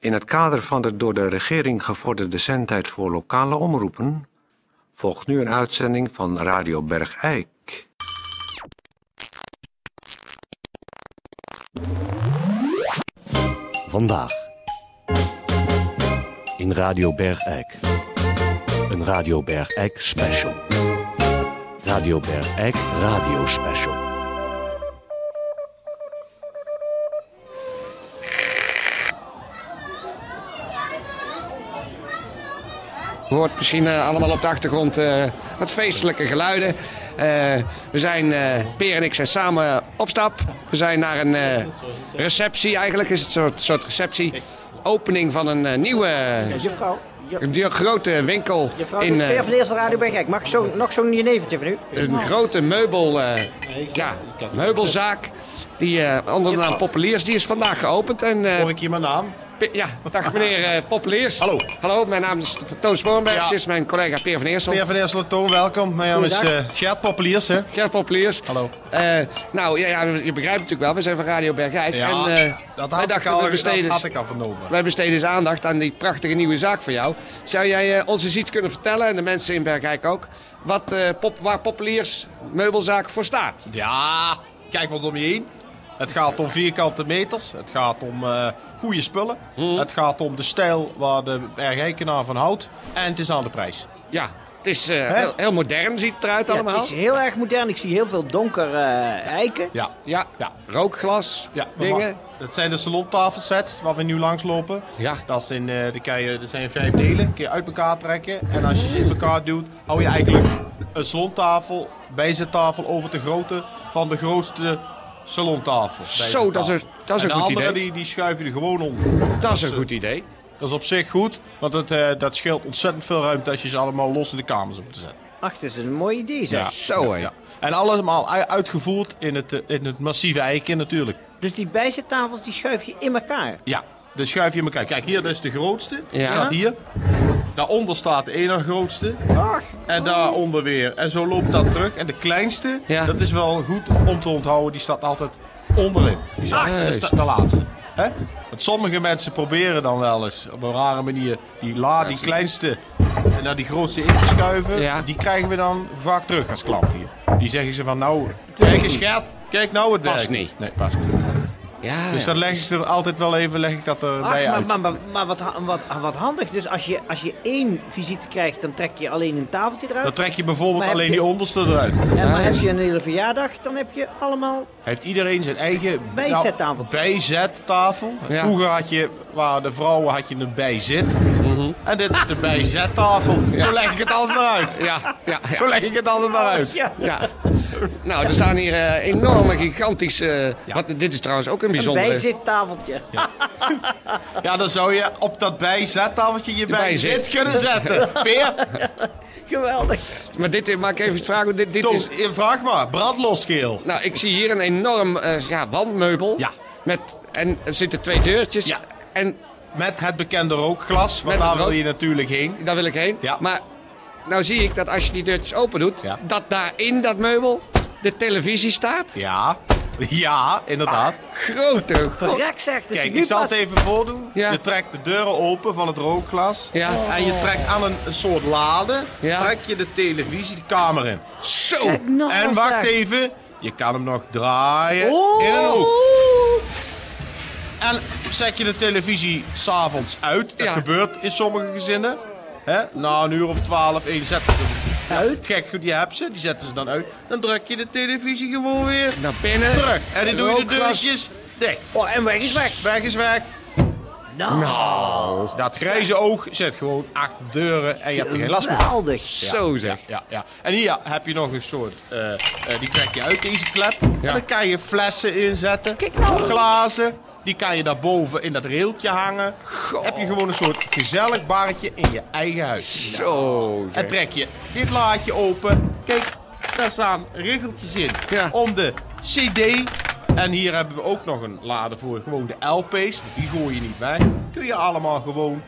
In het kader van de door de regering gevorderde zendtijd voor lokale omroepen volgt nu een uitzending van Radio Bergijk. Vandaag. In Radio Bergijk. Een Radio Bergijk special. Radio Bergijk radio special. Je hoort misschien eh, allemaal op de achtergrond eh, wat feestelijke geluiden. Eh, we zijn, eh Peer en ik zijn samen op stap. We zijn naar een eh, receptie, eigenlijk is het een soort, soort receptie. Opening van een eh, nieuwe Juffrouw, ju- een die- grote winkel. juffrouw in, dit is eh, Peer van de Eerste Radio Bergijk. Mag ik zo, nog zo'n jenevertje van u? een grote meubel, eh, ja, meubelzaak. Die eh, onder de naam Populiers, die is vandaag geopend. En, eh, Hoor ik hier mijn naam? Pe- Ja, dag meneer eh, Poppeliers. Hallo. Hallo, mijn naam is Toon Sporenberg. Ja. Dit is mijn collega Peer van Eersel. Peer van Eersletoon, welkom. Mijn naam is Goeiedag. eh Gert Populiers, hè? Gert Poppeliers. Hallo. Eh, nou, ja, ja, je begrijpt natuurlijk wel, we zijn van Radio Bergijk. en, eh, wij dat had ik dachten, al, we dat besteden, had ik al vernomen. wij besteden eens aandacht aan die prachtige nieuwe zaak van jou. Zou jij eh, ons eens iets kunnen vertellen, en de mensen in Bergijk ook, wat, eh, pop, waar Poppeliers meubelzaak voor staat? Ja, kijk maar eens om je heen. Het gaat om vierkante meters, het gaat om eh goede spullen, het gaat om de stijl waar de Bergijkenaar van houdt en het is aan de prijs. Ja, het is eh, Hè? heel, heel modern, ziet het eruit Ja, allemaal. het is heel erg modern. Ik zie heel veel donker eh, eiken. Ja, Ja, Ja. rookglas, ja we dingen. ma- Dat zijn de salontafelsets waar we nu langslopen. Ja. Dat, zijn, eh die kan je, dat zijn vijf delen, kun je uit elkaar trekken. En als je ze in elkaar duwt, hou je eigenlijk een salontafel, bijzettafel over de grootte van de grootste salontafel. bijzettafel. dat is een- dat is en een de goed andere idee. Die, die schuif je er gewoon onder. Dat is een goed idee. Dat is op zich goed, want het, eh, dat scheelt ontzettend veel ruimte als je ze allemaal los in de kamers op te zetten. Ach, dat is een mooi idee zeg. Zo hé. En allemaal u- uitgevoerd in het, eh, in het massieve eiken natuurlijk. Dus die bijzettafels die schuif je in elkaar. Ja, dus schuif je in elkaar. Kijk, hier, dat is de grootste. Ja. Staat hier. Daaronder staat de ene grootste. Ach, En daaronder weer. En zo loopt dat terug. En de kleinste, Ja. dat is wel goed om te onthouden, die staat altijd onderin. Die is achter, dat is Juist. de- de laatste. Hè? Want sommige mensen proberen dan wel eens op een rare manier die, la, die kleinste naar die grootste in te schuiven. Ja. Die krijgen we dan vaak terug als klant hier. Die zeggen ze van nou, kijk eens Gert, kijk nou het Past werk. niet. Nee, past niet. Ja, Dus ja. dat leg ik er altijd wel even leg ik dat erbij ach uit. maar, maar, maar, maar wat, ha- wat, wat handig. Dus als je, als je één visite krijgt, dan trek je alleen een tafeltje eruit. Dan trek je bijvoorbeeld Maar heb alleen je- die onderste eruit. En maar heb je een hele verjaardag, dan heb je allemaal... Heeft iedereen zijn eigen Bijzettafel. Nou, bijzettafel. Ja. Vroeger had je, waar de vrouwen had je een bijzit. Mhm. En dit is de bijzettafel. Zo leg ik het altijd maar uit. Ja, ja, ja. Zo leg ik het altijd maar uit. Ja, Ja. Nou, er staan hier eh, enorme, gigantische... eh, wat, dit is trouwens ook een een bijzondere... bijzittafeltje. Ja, dan zou je op dat bijzettafeltje je bijzit. bijzit kunnen zetten. Peer, Geweldig. Maar dit, mag ik even vragen? Dit, dit Toon, is, je vraag maar. Brandlosgeel. nou, ik zie hier een enorm eh, ja, wandmeubel. Ja. Met, en er zitten twee deurtjes. Ja. En Met het bekende rookglas, want Met het daar wil rook- je natuurlijk heen. daar wil ik heen. Ja. Maar nou zie ik dat als je die deurtjes open doet... Ja. dat daar in dat meubel de televisie staat. Ja, ja, inderdaad. Grote... god. Verrek zeg, dus Kijk, nu ik zal pas- het even voordoen. Ja. Je trekt de deuren open van het rookglas. Ja. En je trekt aan een, een soort lade. Ja. Trek je de televisie de kamer in. Zo. Kijk, nou, en wacht zeg. even. Je kan hem nog draaien in een hoek. En zet je de televisie s'avonds uit. Dat Ja. gebeurt in sommige gezinnen. Hè? Na een uur of twaalf, één zet ze hem Uit? Gek goed, je hebt ze. Die zetten ze dan uit. Dan druk je de televisie gewoon weer Naar binnen. terug. En dan doe je Nou, de Rookglas. deurtjes dicht. Oh, en weg is weg. Weg is weg. Nou, Dat grijze oog zit gewoon achter de deuren en je hebt er geen last meer. geweldig. Zo zeg. Ja, ja. En hier heb je nog een soort, eh, eh, die trek je uit deze klep. En dan kan je flessen inzetten, Kijk nou. glazen. Die kan je daarboven in dat railtje hangen. Dan heb je gewoon een soort gezellig barretje in je eigen huis. Zo En zeg. trek je dit laadje open. Kijk, daar staan riggeltjes in Ja. om de CD. En hier hebben we ook nog een lade voor gewoon de LP's. want Die gooi je niet bij. Kun je allemaal gewoon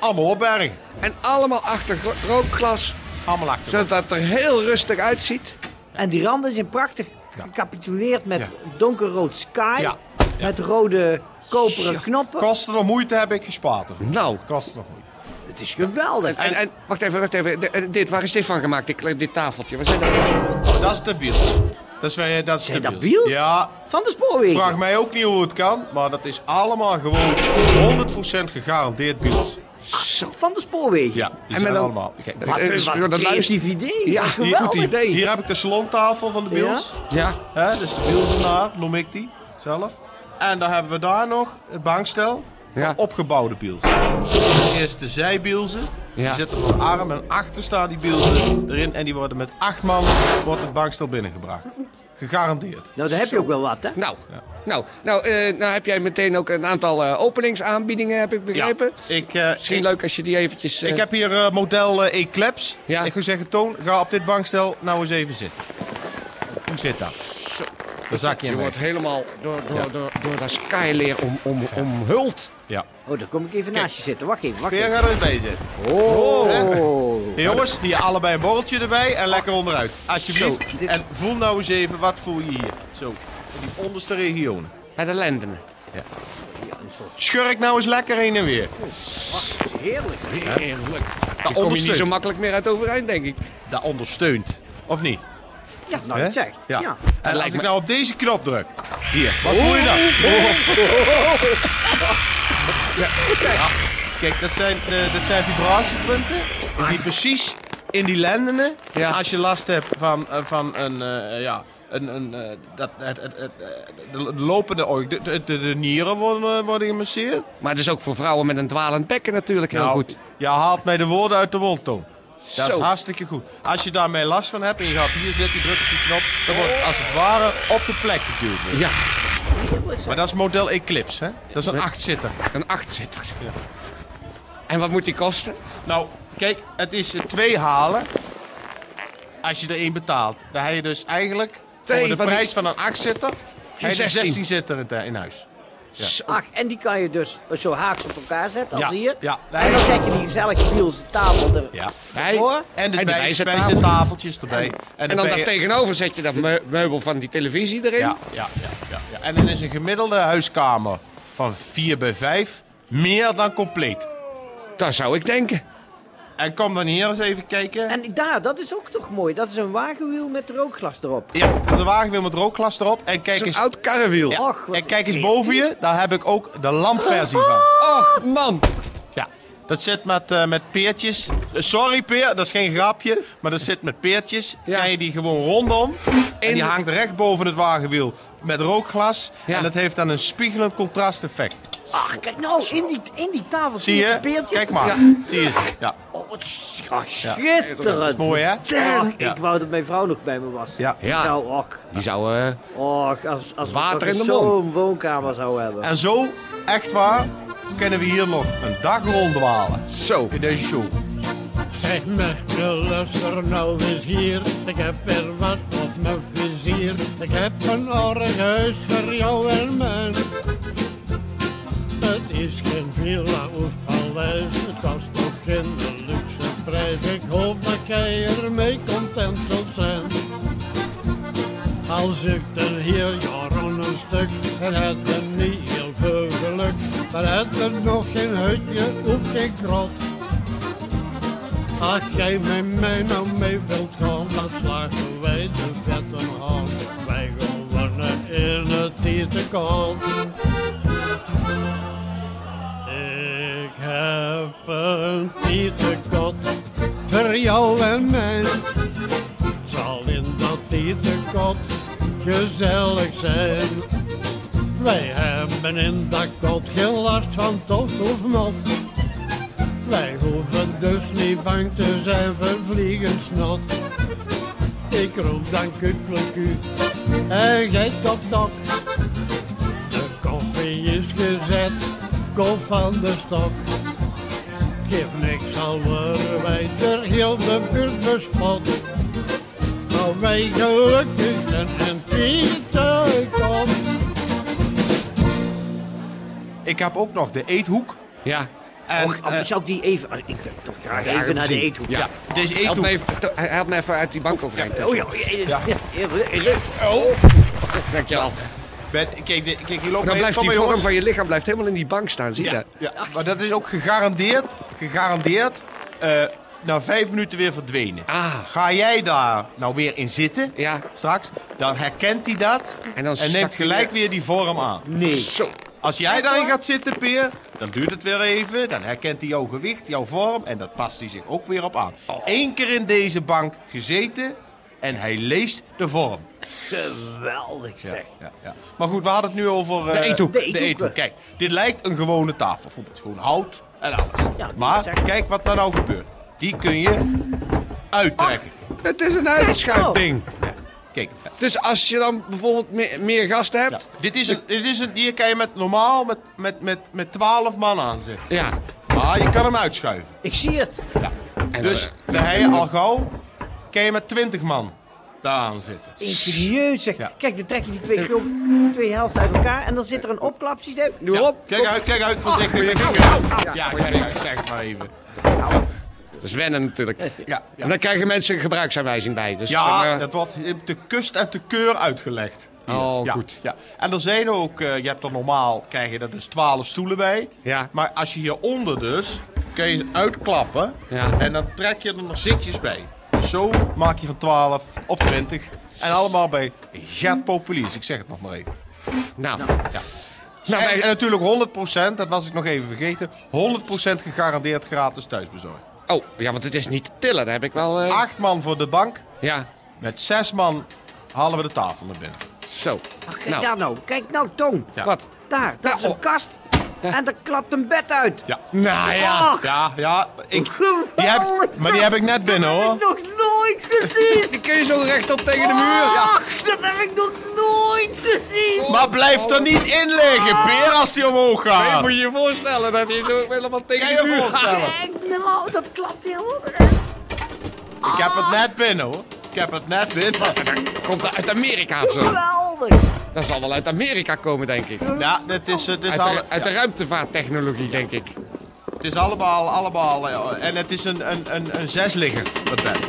allemaal opbergen. En allemaal achter gro- rookglas, Allemaal achter. zodat het er heel rustig uitziet. En die randen zijn prachtig gecapituleerd met donkerrood sky. Ja. Met rode koperen knoppen. Kosten en moeite heb ik gespaard ervoor. Nou, Kosten en moeite. Het is geweldig. en, en wacht even, wacht even. De- eh, dit, waar is dit van gemaakt? Dit, dit tafeltje. Waar zijn dat? Oh, dat is de biels. Dat is, wij- dat is Zijn de dat biels. biels? Ja, Van de spoorwegen. vraag mij ook niet hoe het kan, maar dat is allemaal gewoon 100% gegarandeerd biels. Van de spoorwegen. Ja, die En zijn met een- allemaal. gek. Wat, Eh, wat een dat luistert- creatief idee. Ja, Hier, geweldig. goed idee. Hier heb ik de salontafel van de biels. Ja. Hè, dus de beeldenaar, noem ik die zelf. En dan hebben we daar nog het bankstel van Ja. opgebouwde bielsen. Dus eerst de zijbielsen. Ja. Die zitten op een arm en achter staan die bielsen erin. En die worden met acht man wordt het bankstel binnengebracht. Gegarandeerd. Nou, daar heb je ook wel wat, hè? Nou, nou, nou, eh, nou heb jij meteen ook een aantal eh, openingsaanbiedingen, heb ik begrepen. Ik, eh, Misschien ik, leuk als je die eventjes... eh, ik heb hier eh, model eh, Eclipse. Ja. Ik zou zeggen, Toon, ga op dit bankstel nou eens even zitten. Hoe zit dat? Dan zak je Je hem weg. wordt helemaal door, door, door, door dat skyleer om, om, omhuld. Ja. Oh, daar kom ik even naast je zitten. Wacht even, wacht Peer even. gaat er eens bij zitten. Oh. Hey, jongens, hier allebei een borreltje erbij en lekker onderuit. Alsjeblieft. Zo, dit- En voel nou eens even, wat voel je hier? Zo, in die onderste regionen. Bij de lenden. Een soort Schurk nou eens lekker heen en weer. heerlijk. Heerlijk. Daar kom je niet ondersteunt. zo makkelijk meer uit overeind, denk ik. Dat ondersteunt. Of niet? Ja, nou, je het zegt. Ja. En als lijkt ik me- nou op deze knop druk. Hier, wat voel je dan? Oh. Ja, kijk. Kijk, dat zijn, eh, dat zijn vibratiepunten die precies in die lendenen, Ah. Ja. als je last hebt van, eh, van een, eh, ja, een, een eh, dat, het, het, het, eh, de, de lopende oog, de, de, de- de nieren worden, eh, worden gemasseerd. Maar het is ook voor vrouwen met een dwalend bekken natuurlijk heel Nou, goed. Je haalt mij de woorden uit de mond, Toon. Dat Zo. is hartstikke goed. Als je daarmee last van hebt en je gaat hier zitten, je drukt op die knop, dan wordt het als het ware op de plek geduwd. Ja, Maar dat is model Eclipse, hè? Dat is een achtzitter. een achtzitter. En wat moet die kosten? Nou, kijk, het is eh, twee halen als je er één betaalt. Dan heb je dus eigenlijk Twee voor de van die- prijs van een achtzitter, heb je 16. 16 zitter in, eh, in huis. Ach, en die kan je dus zo haaks op elkaar zetten, Ja, als hier. ja. En dan zet je die gezellige bielse tafel er. Ja. Hij- Hoor. En de En die bij- wijzertafel. bijzettafeltjes erbij. En dan ben je- daartegenover zet je dat meu- meubel van die televisie erin. Ja, ja, ja, ja, ja. En dan is een gemiddelde huiskamer van 4 bij 5 meer dan compleet. Dat zou ik denken. En kom dan hier eens even kijken. En daar, dat is ook toch mooi. Dat is een wagenwiel met rookglas erop. Ja, de wagen weer met rookglas erop. En kijk Zo'n eens, oud karrewiel. ja. Och, wat en kijk eens boven je. Daar heb ik ook de lampversie van. Och, man. Ja. Dat zit met, eh, met peertjes. Eh, Sorry Peer, dat is geen grapje. Maar dat zit met peertjes. Ja. Kan je die gewoon rondom. En In- die hangt recht boven het wagenwiel. Met rookglas. Ja. En dat heeft dan een spiegelend contrasteffect. Ach, kijk nou, in die, in die tafel Zie die je? peertjes. Kijk maar. Zie je ze? Ja. Oh, wat sch- ah, schitterend. Ja, Mooi hè? Ik wou dat mijn vrouw nog bij me was. Ja. Die Ja. zou, och, Die zou... eh, och als, als Water in we de toch mond. zo'n woonkamer zou hebben. En zo, echt waar, kunnen we hier nog een dag rondwalen zo. in deze show. Zeg Merkel, luister nou eens hier. Ik heb weer wat op mijn vizier. Ik heb een aardig huis voor jou en mij. Het is geen villa of paleis. Het kost ook geen luxe prijs. Ik hoop dat jij ermee content zult zijn. Als ik er hier jaren een stuk, dan heb ik niet heel veel geluk. Dan heb ik nog geen hutje of geen krot. Als jij met mij nou mee wilt gaan, dan slagen wij de vetten hand. Wij gewonnen in het eerste kant. Ik heb een tietenkot voor jou en mij. Het Zal in dat tietenkot gezellig zijn. Wij hebben in dat kot geen last van tocht of mot. Wij hoeven dus niet bang te zijn voor vliegensnot. Ik roep dan kukkelku en jij top top. De koffie is gezet, kom van de stok. Geef niks al worden wij ter heel de buurt bespot. Maar wij gelukkig zijn en Pieter komt. Ik heb ook nog de eethoek. Ja. En, Och, oh, eh, zou ik die even... ah, Ik wil toch graag Ja, even naar de precies. eethoek. Ja. deze Help eethoek. me, even, to- help me even uit die bank overeind. Oh ja, ja, ja, ja. ja, ja, ja. Dankjewel. Met, kijk, de- kijk, hier loopt Dan mee- blijft kom die vorm maar, jongens. van je lichaam blijft helemaal in die bank staan, zie je Ja, dat? ja, maar dat is ook gegarandeerd, gegarandeerd eh, na vijf minuten weer verdwenen. Ah. Ga jij daar nou weer in zitten Ja. straks, dan herkent hij dat En dan neemt zakt hij gelijk weer. weer die vorm aan. Nee. Zo. Als jij daarin gaat zitten, Peer, dan duurt het weer even. Dan herkent hij jouw gewicht, jouw vorm en dat past hij zich ook weer op aan. Oh. Eén keer in deze bank gezeten en hij leest de vorm. Geweldig zeg. Ja, ja. Maar goed, we hadden het nu over eh, De eethoek. De eethoek. Kijk, dit lijkt een gewone tafelvoetbal. Het is gewoon hout en alles. Ja, die maar was echt- kijk wat daar nou gebeurt. Die kun je uittrekken. Het is een uitschuifding. Kijk, eh, Dus als je dan bijvoorbeeld me- meer gasten ja. hebt. dit, is een, dit is een... Hier kan je met, normaal met, met, met, met 12 man aanzetten. Ja. Maar je kan hem uitschuiven. Ik zie het. En Dus dan, dan heb je al gauw... Kan je met 20 man daar aanzetten. Ingenieus zeg. Ja. Kijk, dan trek je die twee, groep, twee helften uit elkaar en dan zit er een opklapsysteem. eh, doe op. Kijk uit, kijk uit. Voorzichtig. met je vingers. Ja, kijk uit. Zeg het maar even. Dat is wennen natuurlijk. Ja, ja. En dan krijgen mensen een gebruiksaanwijzing bij. Dus zeg Ja, maar- dat wordt te kust en te keur uitgelegd. Oh, ja, goed. Ja. En er zijn ook, eh, je hebt er normaal, krijg je er dus 12 stoelen bij. Ja. Maar als je hieronder dus, kun je ze uitklappen. Ja. En dan trek je er nog zitjes bij. Dus Zo maak je van 12 op 20. En allemaal bij Jet Populiers. Ik zeg het nog maar even. Nou. ja. Nou, en, wij- en natuurlijk 100%, dat was ik nog even vergeten, 100% gegarandeerd gratis thuisbezorgd. Oh, ja, want het is niet te tillen. Daar heb ik wel... eh, Acht man voor de bank, Ja, met zes man halen we de tafel naar binnen. zo. Ach, kijk Nou. daar nou. Kijk nou, Toon. Ja. Wat? Daar, dat Nou, is een oh. kast. En daar klapt een bed uit. Ja. Nou ja. Ach, Ja, ja. Ik, geweldig die heb, maar die heb ik net binnen Oh, Dat hoor. heb ik nog nooit gezien. Die kun je zo rechtop tegen de muur. Ja. Oh. Ach, dat heb ik nog nooit gezien. Maar blijf er niet in liggen, Peer, als die omhoog Nee, gaat. moet je je voorstellen dat hij zo helemaal tegen Kan de je muur voorstellen? Kijk nou, dat klapt heel Oh. erg. Ik heb het net binnen hoor. Ik heb het net binnen. Komt dat uit Amerika of zo? Geweldig. Dat zal wel uit Amerika komen, denk ik. Ja, dit is, het is, Uit alle, de, uit de ruimtevaarttechnologie, denk ik. het is allemaal, allemaal. eh, En het is een, een, een, een zesligger, dat bed.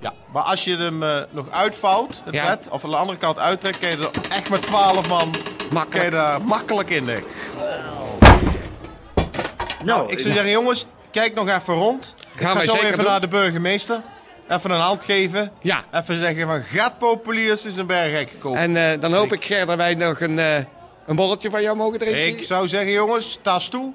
Ja, maar als je hem eh, nog uitvouwt, het Ja. bed, of aan de andere kant uittrekt, kun je er echt met 12 man kun je Makkelijk. daar makkelijk in liggen. Nou, Ik zou zeggen, jongens, kijk nog even rond. Ik Gaan ga wij zo zeker even doen. naar de burgemeester. Even een hand geven. Ja. Even zeggen van, gaat populiers is een berghek gekomen. En eh, dan hoop ik, Ger, dat wij nog een, eh, een borreltje van jou mogen drinken. Ik zou zeggen, jongens, tas toe.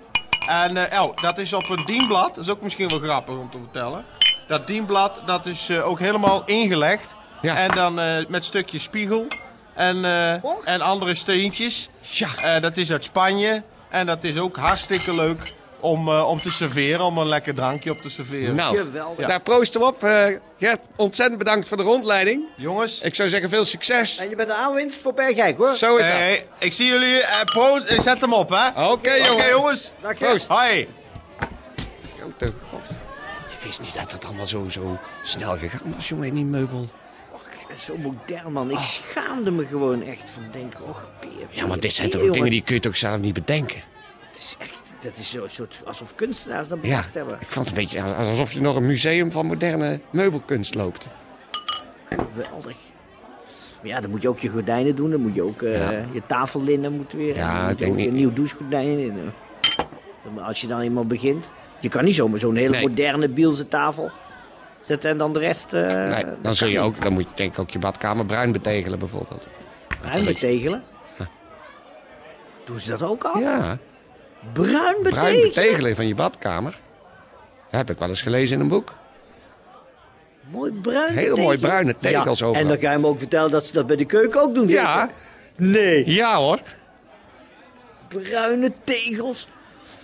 En eh, oh, dat is op een dienblad. Dat is ook misschien wel grappig om te vertellen. Dat dienblad, dat is eh, ook helemaal ingelegd. Ja. En dan eh, met stukjes spiegel. En, eh, Och. en andere steentjes. Tja. Eh, dat is uit Spanje. En dat is ook hartstikke leuk om, eh, om te serveren. Om een lekker drankje op te serveren. Nou, Geweldig. daar proosten we op. Eh, Gert, ontzettend bedankt voor de rondleiding. Jongens, Ik zou zeggen, veel succes. En je bent de aanwinst voor Bergijk hoor. Zo is dat. Hey, hey, ik zie jullie. eh, proost. Eh, zet hem op, hè. Oké, jongen. jongens. Dank je. Proost. Hoi. Grote god. Ik wist niet dat dat allemaal zo, zo snel gegaan was, jongen, in die meubel. Och, zo modern man. Ik schaamde me gewoon echt van denken. Och, peer. Oh. Ja, maar dit zijn toch peer, ook dingen jongen. die kun je toch zelf niet bedenken? Het is echt, dat is zo, soort alsof kunstenaars dat Ja, bedacht hebben. ik vond het een beetje alsof je nog een museum van moderne meubelkunst loopt. Geweldig. Maar ja, dan moet je ook je gordijnen doen. Dan moet je ook eh, je tafellinnen moet weer. Ja, ik en dan moet je denk ook niet- een nieuw douchegordijn in. eh. Maar Als je dan eenmaal begint. Je kan niet zomaar zo'n hele Nee. moderne Bielse tafel zetten en dan de rest eh Nee, dan, zul je ook, dan moet je denk ik ook je badkamer bruin betegelen bijvoorbeeld. bruin betegelen. Doen ze dat ook al? Ja, Bruin Oh, betegelen? bruin betegelen van je badkamer. Dat heb ik wel eens gelezen in een boek. Mooi bruin Heel betegelen. mooi bruine tegels ja, overal. En dan kan je me ook vertellen dat ze dat bij de keuken ook doen. Ja, zeker? Nee. ja hoor. Bruine tegels.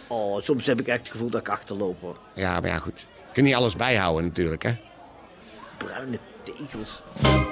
Oh, soms heb ik echt het gevoel dat ik achterloop hoor. Ja, maar ja, goed. Je kunt niet alles bijhouden natuurlijk, hè. Bruine tegels.